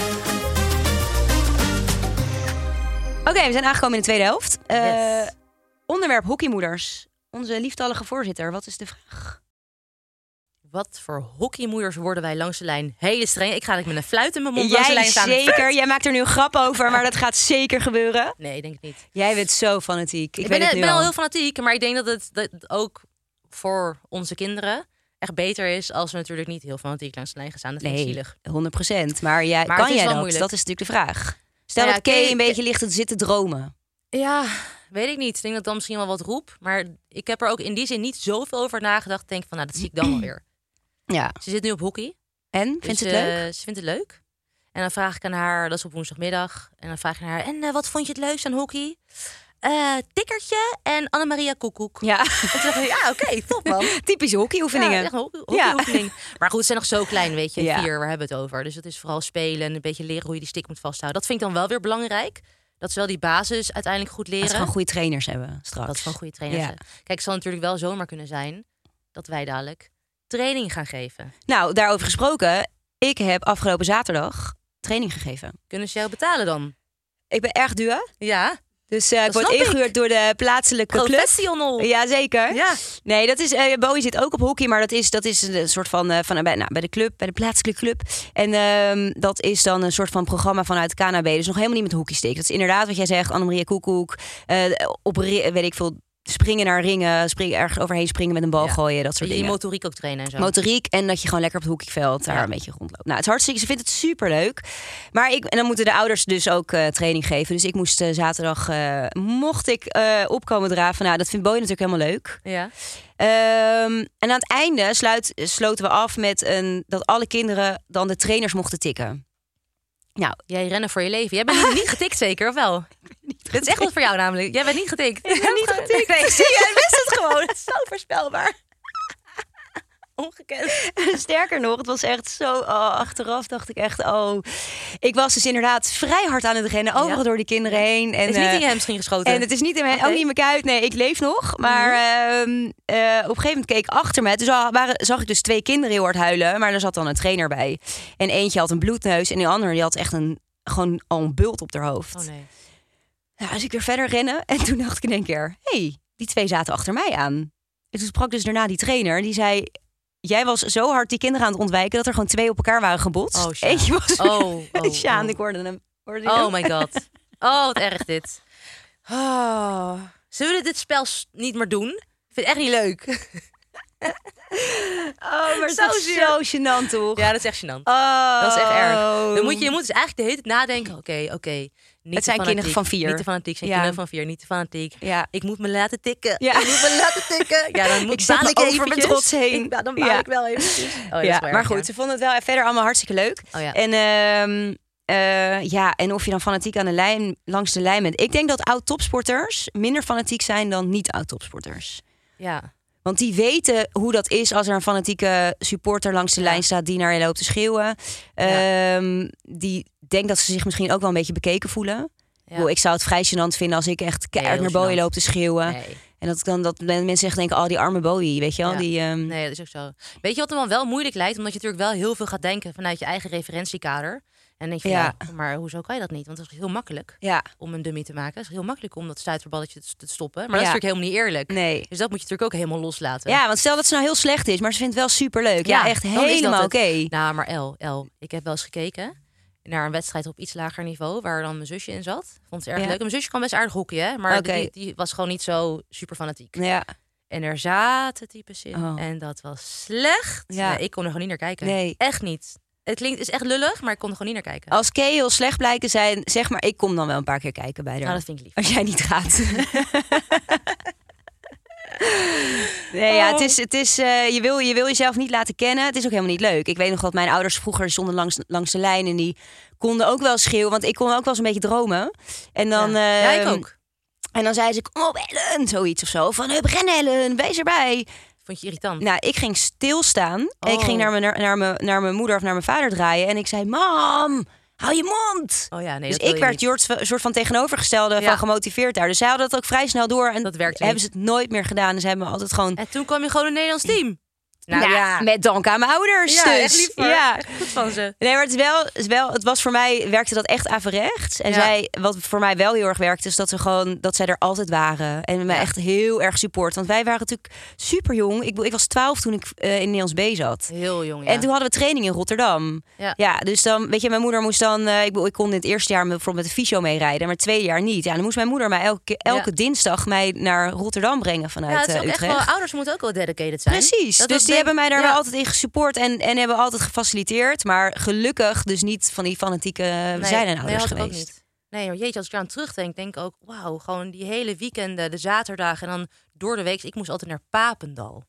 Oké, we zijn aangekomen in de tweede helft. Eh,
Yes.
Onderwerp hockeymoeders. Onze lieftallige voorzitter, wat is de vraag?
Wat voor hockeymoeders worden wij langs de lijn? Hele streng. Ik ga met een fluit in mijn mond langs de
Jij
lijn staan.
zeker. Jij maakt er nu een grap over, maar dat gaat zeker gebeuren.
Nee, ik denk het niet.
Jij bent zo fanatiek. Ik,
Ik,
weet
ben,
het nu
ben
al.
al heel fanatiek, maar ik denk dat het dat ook voor onze kinderen echt beter is als we natuurlijk niet heel fanatiek langs de lijn gaan staan. Dat vind ik
Nee,
zielig.
100 procent. Maar, jij,
Maar het
kan
is
jij
wel
dat?
moeilijk. Nou
Dat is natuurlijk de vraag. Stel
Ja,
dat Kay
Kay-
een beetje ligt te zitten dromen.
Ja, weet ik niet. Ik denk dat ik dan misschien wel wat roep, maar ik heb er ook in die zin niet zoveel over nagedacht. Ik Denk van, nou, dat zie ik dan wel weer.
Ja.
Ze zit nu op hockey.
En? Vindt
dus,
ze het
eh,
leuk?
Ze vindt het leuk. En dan vraag ik aan haar, dat is op woensdagmiddag, en dan vraag ik aan haar, en eh, wat vond je het leukst aan hockey? Eh tikkertje en Annemaria Koekoek.
Ja.
En toen dacht ik, ja, oké, top man.
Typische
Ja,
hockeyoefeningen.
echt een hockey-
Ja.
hockeyoefening. Maar goed, ze zijn nog zo klein, weet je.
Ja.
Vier, waar hebben we het over? Dus het is vooral spelen en een beetje leren hoe je die stick moet vasthouden. Dat vind ik dan wel weer belangrijk. Dat ze wel die basis uiteindelijk goed leren.
Dat ze gewoon goede trainers hebben straks.
Dat is gewoon goede trainers.
Ja.
zijn. Kijk, het zal natuurlijk wel zomaar kunnen zijn dat wij dadelijk training gaan geven.
Nou, daarover gesproken. Ik heb afgelopen zaterdag training gegeven.
Kunnen ze jou betalen dan?
Ik ben erg duur.
Ja,
Dus eh, ik
Dat
word
snap ik.
ingehuurd door de plaatselijke club.
professional.
Jazeker.
Ja.
Nee, dat is, eh Bowie zit ook op hockey, maar dat is, dat is een soort van, eh, van eh, bij, nou, bij de club, bij de plaatselijke club. En ehm, dat is dan een soort van programma vanuit KNB. Dus nog helemaal niet met hockeystick. Dat is inderdaad wat jij zegt, Annemarie Koekoek. eh op, re- weet ik veel, springen naar ringen, springen, ergens overheen springen met een bal gooien, dat soort
je
dingen.
motoriek ook trainen en zo.
motoriek en dat je gewoon lekker op het hoekveld daar een beetje rondloopt. Nou, het is hartstikke, ze vindt het superleuk. Maar ik, en dan moeten de ouders dus ook eh, training geven. Dus ik moest eh, zaterdag, eh, mocht ik eh, opkomen draven. Nou, dat vindt Boy natuurlijk helemaal leuk.
ja.
Ehm, en aan het einde sluit, sloten we af met een, dat alle kinderen dan de trainers mochten tikken. Nou,
Jij rennen voor je leven. Jij bent niet getikt zeker, of wel? Dit is echt wat voor jou namelijk. Jij bent niet getikt. Ik
niet getikt. Nee, zie je, hij wist het gewoon. Het is zo voorspelbaar.
Ongekend.
Sterker nog, het was echt zo. oh, achteraf dacht ik echt, oh. Ik was dus inderdaad vrij hard aan het rennen, overal
Ja.
door die kinderen heen. En,
Is niet in je
eh,
hamstring geschoten.
en het is niet in mijn,
Oké.
ook niet in mijn kuit. Nee, ik leef nog. Maar ehm, eh, op een gegeven moment keek ik achter me. Toen zag, waren, zag ik dus twee kinderen heel hard huilen. Maar daar zat dan een trainer bij. En eentje had een bloedneus. En de ander die had echt een, gewoon al een bult op haar hoofd.
Oh nee.
Nou, dus ik weer verder rennen. En toen dacht ik in één keer, hé, hey, die twee zaten achter mij aan. En toen sprak dus daarna die trainer. Die zei, jij was zo hard die kinderen aan het ontwijken... dat er gewoon twee op elkaar waren gebotst.
Oh, Sjaan.
Eentje was...
Oh, oh,
Sjaan,
oh.
ik hoorde hem. Hoorde je hem?
Oh my god. Oh, wat erg dit. Oh. Zullen we dit spel s- niet meer doen? Ik vind het echt niet leuk.
Oh, maar
Zo
zo,
zuur.
zo gênant, toch?
Ja, dat is echt gênant.
Oh.
Dat is echt erg. Dan moet je, je moet dus eigenlijk de hele tijd nadenken. Oké, oké. niet
Het
te
zijn kinderen
fanatiek,
van vier.
Niet te fanatiek. zijn
Ja.
kinderen van vier. Niet te fanatiek.
Ja.
Ik moet me laten tikken.
Ja.
Ik moet me laten tikken. Ja, dan moet
Ik zet
baal
me
ik
over mijn
eventjes.
trots heen.
Ik, ba- dan baal
Ja.
ik wel eventjes. Oh, ja, dat is
ja,
wel erg,
maar goed,
ja.
ze vonden het wel verder allemaal hartstikke leuk.
Oh ja.
En ehm, eh, ja, en of je dan fanatiek aan de lijn, langs de lijn bent. Ik denk dat oud-topsporters minder fanatiek zijn dan niet-oud-topsporters.
Ja.
Want die weten hoe dat is als er een fanatieke supporter langs de lijn staat die naar je loopt te schreeuwen. Ehm, die denkt dat ze zich misschien ook wel een beetje bekeken voelen.
Ja.
Wow, ik zou het vrij gênant vinden als ik echt keihard
heel
naar Bowie
gênant.
loop te schreeuwen.
Nee.
En dat, ik dan, dat mensen echt denken, oh die arme Bowie, weet je wel.
Ja.
Die, ehm,
Nee, dat is ook zo. Weet je wat hem dan wel moeilijk lijkt? Omdat je natuurlijk wel heel veel gaat denken vanuit je eigen referentiekader. En dan denk je, van,
Ja.
ja. maar hoezo kan je dat niet? Want dat is heel makkelijk
Ja,
om een dummy te maken. Het is heel makkelijk om dat stuiterballetje te- te stoppen. Maar dat
Ja.
is natuurlijk helemaal niet eerlijk.
nee.
Dus dat moet je natuurlijk ook helemaal loslaten.
Ja, want stel dat ze nou heel slecht is, maar ze vindt het wel superleuk. Ja, echt
dan is dat
helemaal
het.
oké.
Nou, maar El, El, ik heb wel eens gekeken naar een wedstrijd op iets lager niveau, waar dan mijn zusje in zat. Vond ze erg
Ja.
leuk. En Mijn zusje kan best aardig hockey, hè? maar
Oké.
die, die was gewoon niet zo super fanatiek.
Ja,
En er zaten types in
Oh.
en dat was slecht.
Ja.
Nee, ik kon er gewoon niet naar kijken.
Nee. Oh,
Echt niet. Het klinkt is echt lullig, maar ik kon er gewoon niet naar kijken.
als Kay heel slecht blijken zijn, zeg maar, ik kom dan wel een paar keer kijken bij haar.
Nou, dat vind ik lief.
Als jij niet gaat. Nee, ja,
Oh.
het is, het is, eh, je, wil, je wil jezelf niet laten kennen. Het is ook helemaal niet leuk. Ik weet nog dat mijn ouders vroeger stonden langs, langs de lijn en die konden ook wel schreeuwen. Want ik kon ook wel eens een beetje dromen. En dan,
ja. Ja, ik
ehm,
ook.
En dan zei ze, kom op Ellen, zoiets of zo. Van, hup, ren Ellen, wees erbij.
Vond je irritant?
Nou, ik ging stilstaan. En ik
Oh.
ging naar mijn, naar, naar mijn, naar mijn moeder of naar mijn vader draaien. En ik zei, mam, hou je mond.
Oh ja, nee, dat
dus
wil
ik
je
werd
niet.
Jort een soort van tegenovergestelde
Ja.
van gemotiveerd daar. Dus zij hadden dat ook vrij snel door. En
Dat werkte
hebben ze het nooit meer gedaan. En ze hebben me altijd gewoon...
En toen kwam je gewoon een Nederlands team.
Nou, Met dank aan mijn ouders.
ja,
dus.
echt lief hoor.
Ja.
Echt goed van ze.
Nee, maar het, is wel, het, is wel, het was voor mij, werkte dat echt averechts. En
Ja.
zij, wat voor mij wel heel erg werkte, is dat, ze gewoon, dat zij er altijd waren. En mij echt heel erg support. Want wij waren natuurlijk super jong. Ik, bedoel, ik was 12 toen ik eh, in Nederlands B zat.
Heel jong, ja.
En toen hadden we training in Rotterdam.
Ja.
dus dan, weet je, mijn moeder moest dan... eh, ik, bedoel, ik kon in het eerste jaar met- bijvoorbeeld met de fysio meerijden, maar het tweede jaar niet. Ja, dan moest mijn moeder mij elke, elke
Ja.
dinsdag mij naar Rotterdam brengen
ja,
vanuit
dat is
eh,
ook echt
Utrecht.
wel, ouders moeten ook wel dedicated zijn.
Precies,
Dat
dus
dat
die
denk-
hebben mij daar
ja.
wel altijd in gesupport en, en hebben altijd gefaciliteerd. Maar gelukkig dus niet van die fanatieke we
Nee,
zijn en
nee,
ouders
had ik ook
geweest.
niet. Nee, maar jeetje, als ik eraan terugdenk, denk ik ook... wauw, gewoon die hele weekenden, de zaterdagen en dan door de week. Ik moest altijd naar Papendal.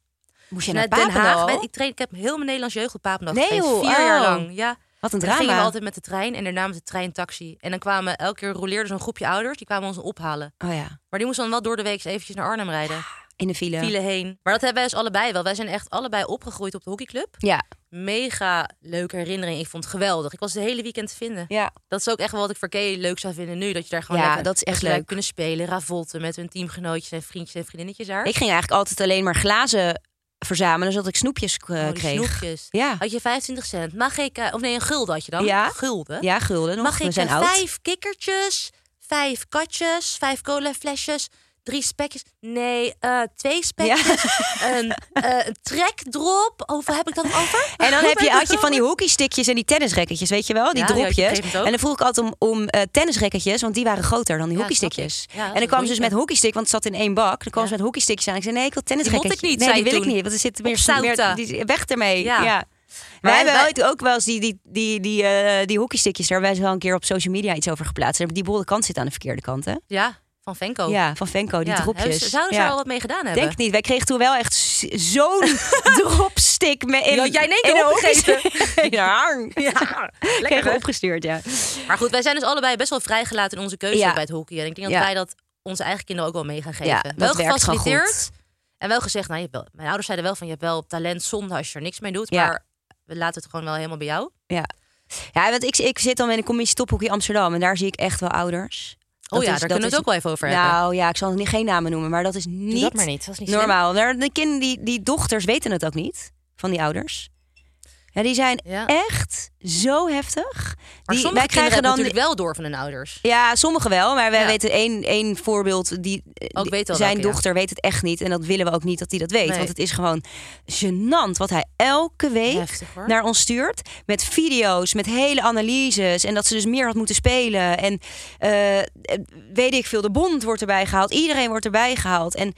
Moest je
Dus
naar Papendal?
ben- ik, train, ik heb heel mijn Nederlands jeugd op Papendal
Nee,
getraind.
joh,
Vier jaar
oh.
lang, ja.
Wat een
En dan gingen we
drama.
altijd met de trein en daarna met de trein taxi. En dan kwamen elke keer roleerde zo'n groepje ouders, die kwamen ons ophalen.
Oh ja,
Maar die moesten dan wel door de week eens eventjes naar Arnhem rijden.
in de file.
Vielen heen. Maar dat hebben wij dus allebei wel. Wij zijn echt allebei opgegroeid op de hockeyclub.
Ja,
Mega leuke herinnering. Ik vond het geweldig. Ik was het hele weekend te vinden.
ja.
Dat is ook echt wel wat ik voor Kay leuk zou vinden nu. Dat je daar gewoon
Ja,
lekker,
dat is echt
dat je daar
leuk.
kunnen spelen, ravolten met hun teamgenootjes en vriendjes en vriendinnetjes daar.
Ik ging eigenlijk altijd alleen maar glazen verzamelen, zodat ik snoepjes eh,
Oh, die
kreeg.
snoepjes.
Ja.
Had je 25 cent? Mag ik, eh, of nee, een gulden had je dan?
Ja.
Gulden?
Ja, gulden nog.
Mag
We
ik
zijn
eh,
oud.
vijf kikkertjes, vijf katjes, vijf colaflesjes, drie spekjes. Nee, eh, twee spekjes. Een, eh, een trekdrop. Over heb ik dat over?
En dan
Hoe
heb
ben
je,
ik
had
dat
je van die
over?
hockeystickjes en die tennisrekketjes, weet je wel? Die
Ja, die had je op een
dropjes.
gegeven moment ook.
En dan vroeg ik altijd om, om eh, tennisrekketjes, want die waren groter dan die
Ja,
hockeystickjes.
snap ik. Ja, dat
en
is
dan
een
kwamen ze dus
goeie.
met hockeystick, want het zat in één bak. Dan kwamen
Ja.
ze met hockeystickjes aan. Ik zei, nee, ik wil
Die
tennisrekketjes.
vond ik niet,
nee, die
zei je
wil ik
toen.
niet, want er zit meer...
Op
meer
zouten.
die, weg ermee. Ja.
Ja.
Wij
Maar
hebben
wij-
ooit ook wel eens die, die, die, die, eh, die hockeystickjes, daar hebben wij wel een keer op social media iets over geplaatst. Die bolle kant zit aan de verkeerde kant, hè?
Ja, van Venko.
Ja, van Venko, die
Oh. Ja, hebben
dropjes.
ze- Zouden ze
Ja.
er al wat mee gedaan hebben?
Denk niet. Wij kregen toen wel echt z- zo'n dropstick. Met in,
Die had jij in één keer
een
opgegeten.
hockeystick. ja, ja. Kregen
hè?
we opgestuurd, ja.
Maar goed, wij zijn dus allebei best wel vrijgelaten in onze keuze
Ja.
bij het hockey. En ik denk dat
Ja.
wij dat onze eigen kinderen ook wel mee gaan geven.
Ja, dat
wel
werkt gewoon goed.
gefaciliteerd. En wel gezegd, nou, je hebt wel, mijn ouders zeiden wel van je hebt wel talent zonde als je er niks mee doet.
Ja.
Maar we laten het gewoon wel helemaal bij jou.
Ja, ja want ik, ik zit dan in de commissie Tophockey Amsterdam. En daar zie ik echt wel ouders.
Oh ja,
is-
daar kunnen we
is-
het ook wel even over hebben.
Nou ja, ik zal niet- geen namen noemen. Maar dat is niet,
dat maar niet, dat is niet slim.
normaal. Nou, De kind, die, die dochters weten het ook niet van die ouders. Ja, die zijn
Ja.
echt zo heftig.
Maar
die,
sommige
wij
kinderen
krijgen
hebben
dan
natuurlijk wel door van hun ouders.
Ja, sommigen wel. Maar wij
Ja.
weten één, één voorbeeld. Die,
Oh, ik weet al
zijn
welke, ja.
dochter weet het echt niet. En dat willen we ook niet dat hij dat weet.
Nee.
Want het is gewoon gênant wat hij elke week
Heftig, hoor.
naar ons stuurt. Met video's, met hele analyses. En dat ze dus meer had moeten spelen. En eh, weet ik veel, de bond wordt erbij gehaald. Iedereen wordt erbij gehaald. En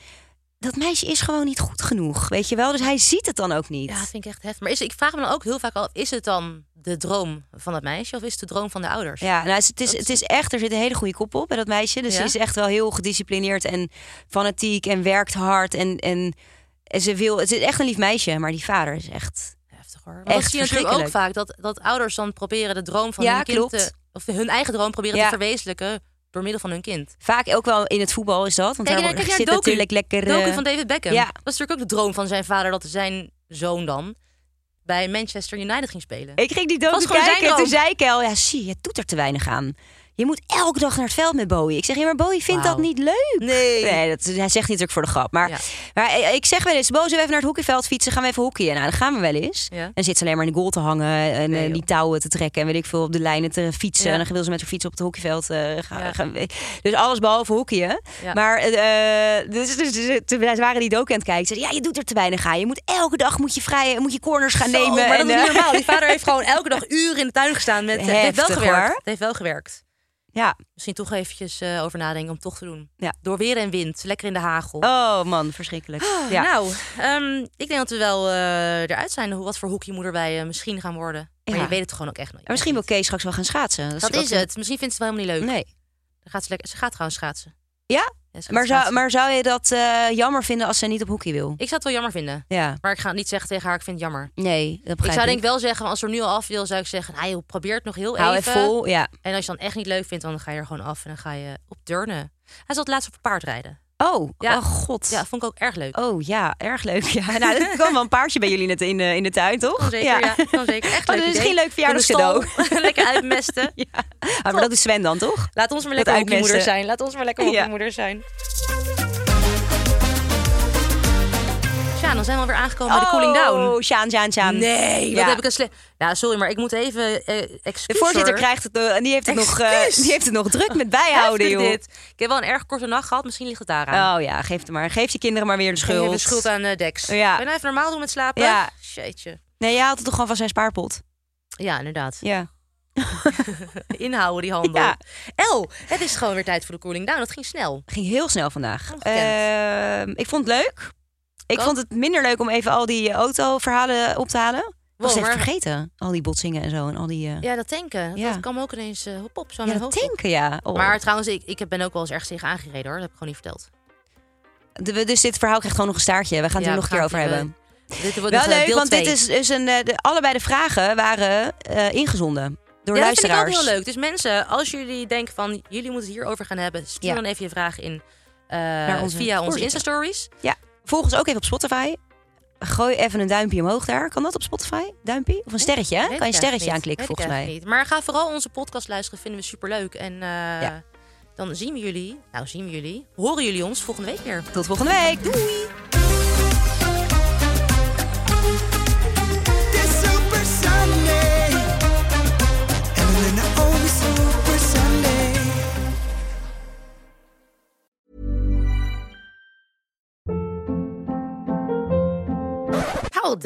dat meisje is gewoon niet goed genoeg. Weet je wel? Dus hij ziet het dan ook niet.
Ja, dat vind ik echt heftig. Maar is, ik vraag me dan ook heel vaak af, is het dan de droom van het meisje of is het de droom van de ouders?
Ja, nou, het, is- het is, het is echt, er zit een hele goede kop op bij dat meisje. Dus
Ja?
ze is echt wel heel gedisciplineerd en fanatiek en werkt hard. En, en, en ze wil, het is echt een lief meisje, maar die vader is echt.
Heftig hoor. Want
Echt
dat zie je natuurlijk ook
verschrikkelijk.
vaak. Dat, dat ouders dan proberen de droom van
Ja,
hun kind
klopt.
te, of hun eigen droom proberen
Ja.
te verwezenlijken door middel van hun kind.
Vaak ook wel in het voetbal is dat. Want
Kijk,
daar
naar- kijk
zit
naar docu.
natuurlijk lekker. eh,
Doku van David Beckham.
ja.
Dat was natuurlijk ook de droom van zijn vader dat zijn zoon dan bij Manchester United ging spelen.
Ik ging die docu
Was gewoon
kijken
zijn
en toen
droom.
zei ik al, ja zie, je doet er te weinig aan. Je moet elke dag naar het veld met Bowie. Ik zeg, ja, maar Bowie vindt dat
Wauw.
niet leuk.
Nee.
dat, hij zegt niet natuurlijk voor de grap. Maar,
Ja.
maar ik zeg wel eens, Bo, zullen we even naar het hockeyveld fietsen? Gaan we even hockeyen? Nou, dan gaan we wel eens.
Ja.
En dan zit ze alleen maar in de goal te hangen en eh,
joh.
die touwen te trekken. En weet ik veel, op de lijnen te fietsen.
Ja.
En dan wil ze met haar fiets op het hockeyveld eh, gaan,
Ja.
gaan- Dus alles behalve hockeyen.
Ja.
Maar eh, dus, dus, dus, toen wij waren die docu aan het kijken. Ze zei, ja, je doet er te weinig aan. Je moet elke dag moet je, vrij, moet je corners gaan
Zo,
nemen.
maar dat
en,
is niet
eh,
normaal. Die vader heeft gewoon elke dag uren in de tuin gestaan. Met, het heeft wel
Heftig,
gewerkt.
hoor.
Het heeft wel gewerkt.
Ja.
Misschien toch eventjes eh, over nadenken om toch te doen.
Ja.
Door weer en wind. Lekker in de hagel.
Oh man, verschrikkelijk. ja.
Nou, ehm, ik denk dat we wel eh, eruit zijn hoe- wat voor hockeymoeder wij eh, misschien gaan worden. Maar
Ja.
je weet het gewoon ook echt nooit.
En misschien wil Kees straks wel gaan schaatsen.
Dat is het. Misschien vindt ze het wel helemaal niet leuk.
Nee.
Dan gaat ze, lekker, ze gaat trouwens schaatsen.
Ja?
Ja, ze gaat
Maar zou,
schaatsen.
maar zou je dat eh, jammer vinden als ze niet op hockey wil?
Ik zou het wel jammer vinden.
Ja.
Maar ik ga het niet zeggen tegen haar, ik vind het jammer.
Nee, dat begrijp
Ik zou denk ik wel zeggen, als ze er nu al af wil, zou ik zeggen... Nou, joh, probeer het nog heel
Hou
even.
even vol, ja.
En als je dan echt niet leuk vindt, dan ga je er gewoon af en dan ga je op turnen. Hij zat laatst op paardrijden.
Oh,
Ja.
oh god.
Ja, vond ik ook erg leuk.
Oh ja, erg leuk. Ja. Nou, dat kwam wel een paardje bij jullie net in, de- in de tuin, toch?
Kan zeker, ja. kan zeker. Echt
Oh,
leuk
dat is
idee.
geen leuk verjaardagscadeau.
Door de stal Lekker uitmesten.
Ja. Ah, maar dat is Sven dan, toch?
Laat ons maar
Dat
lekker
uitmesten.
hockeymoeder zijn. Laat ons maar lekker
Ja.
hockeymoeder zijn. Ja, dan zijn we weer aangekomen bij de cooling down.
Oh, Sjaan, Sjaan, Sjaan.
Nee, wat
Ja.
heb ik een slecht... Ja, sorry, maar ik moet even... eh excuus,
De voorzitter
hoor.
krijgt het, eh, en die heeft het, nog, eh,
Excuus.
die heeft het nog druk met bijhouden,
Heftig
joh.
dit. Ik heb wel een erg korte nacht gehad. Misschien ligt het daaraan.
Oh ja, geef, het maar. geef je kinderen maar weer de
Geef
schuld.
Even schuld aan eh, Dex.
Ja.
Ben je nou even normaal doen met slapen?
Ja.
Shitje.
Nee, jij haalt het toch gewoon van zijn spaarpot?
Ja, inderdaad.
Ja.
Inhouden die handel.
Ja.
El, het is gewoon weer tijd voor de cooling down. Dat ging snel.
ging heel snel vandaag.
Ongekend.
Ehm, ik vond het leuk. Ik
Ook?
vond het minder leuk om even al die eh, autoverhalen op te halen. Ik was even
Wow, maar-
vergeten. Al die botsingen en zo. En al die... eh, Ja,
Ja, dat tanken.
Ja.
Dat kwam ook ineens eh, hop op zo in mijn
dat
hoofd.
tanken, ja. Oh.
Maar trouwens, ik, ik ben ook wel eens ergens tegen aangereden hoor. Dat heb ik gewoon niet verteld.
De- we- dus dit verhaal krijgt gewoon nog een staartje. We gaan het
Ja,
er nog
we
een keer over
gaan het,
hebben.
eh, Dit wordt
Wel
nog, eh,
leuk,
deel
want
twee.
dit is, is een... eh, de- allebei de vragen waren eh, ingezonden. Door
Ja, dat vind ik ook
luisteraars.
heel leuk. Dus mensen, als jullie denken van jullie moeten het hierover gaan hebben, stuur
Ja.
dan even je vraag in eh,
onze
via onze
voorzitter.
Insta-stories.
Ja. Volg ons ook even op Spotify. Gooi even een duimpje omhoog daar. Kan dat op Spotify? Duimpje? Of een sterretje, hè?
Weet
Kan je
ik
een
eigenlijk
sterretje
niet.
aanklikken,
Weet ik
volgens mij.
eigenlijk niet. Maar ga vooral onze podcast luisteren, vinden we superleuk. En eh,
Ja.
dan zien we jullie, nou zien we jullie, horen jullie ons volgende week weer.
Tot volgende week. Doei!
This Super Sunday, and then the only Super Sunday.
Hold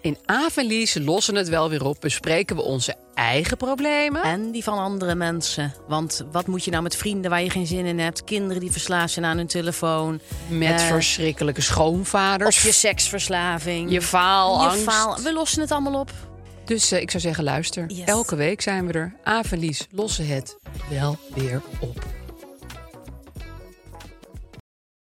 In Averlies lossen het wel weer op. Bespreken we onze eigen problemen.
En die van andere mensen. Want wat moet je nou met vrienden waar je geen zin in hebt? Kinderen die verslaafd zijn aan hun telefoon.
Met
Eh,
verschrikkelijke schoonvaders.
Of je seksverslaving.
Je faalangst.
Je faal- We lossen het allemaal op.
Dus eh, ik zou zeggen, luister.
Yes.
Elke week zijn we er. Averlies lossen het wel weer op.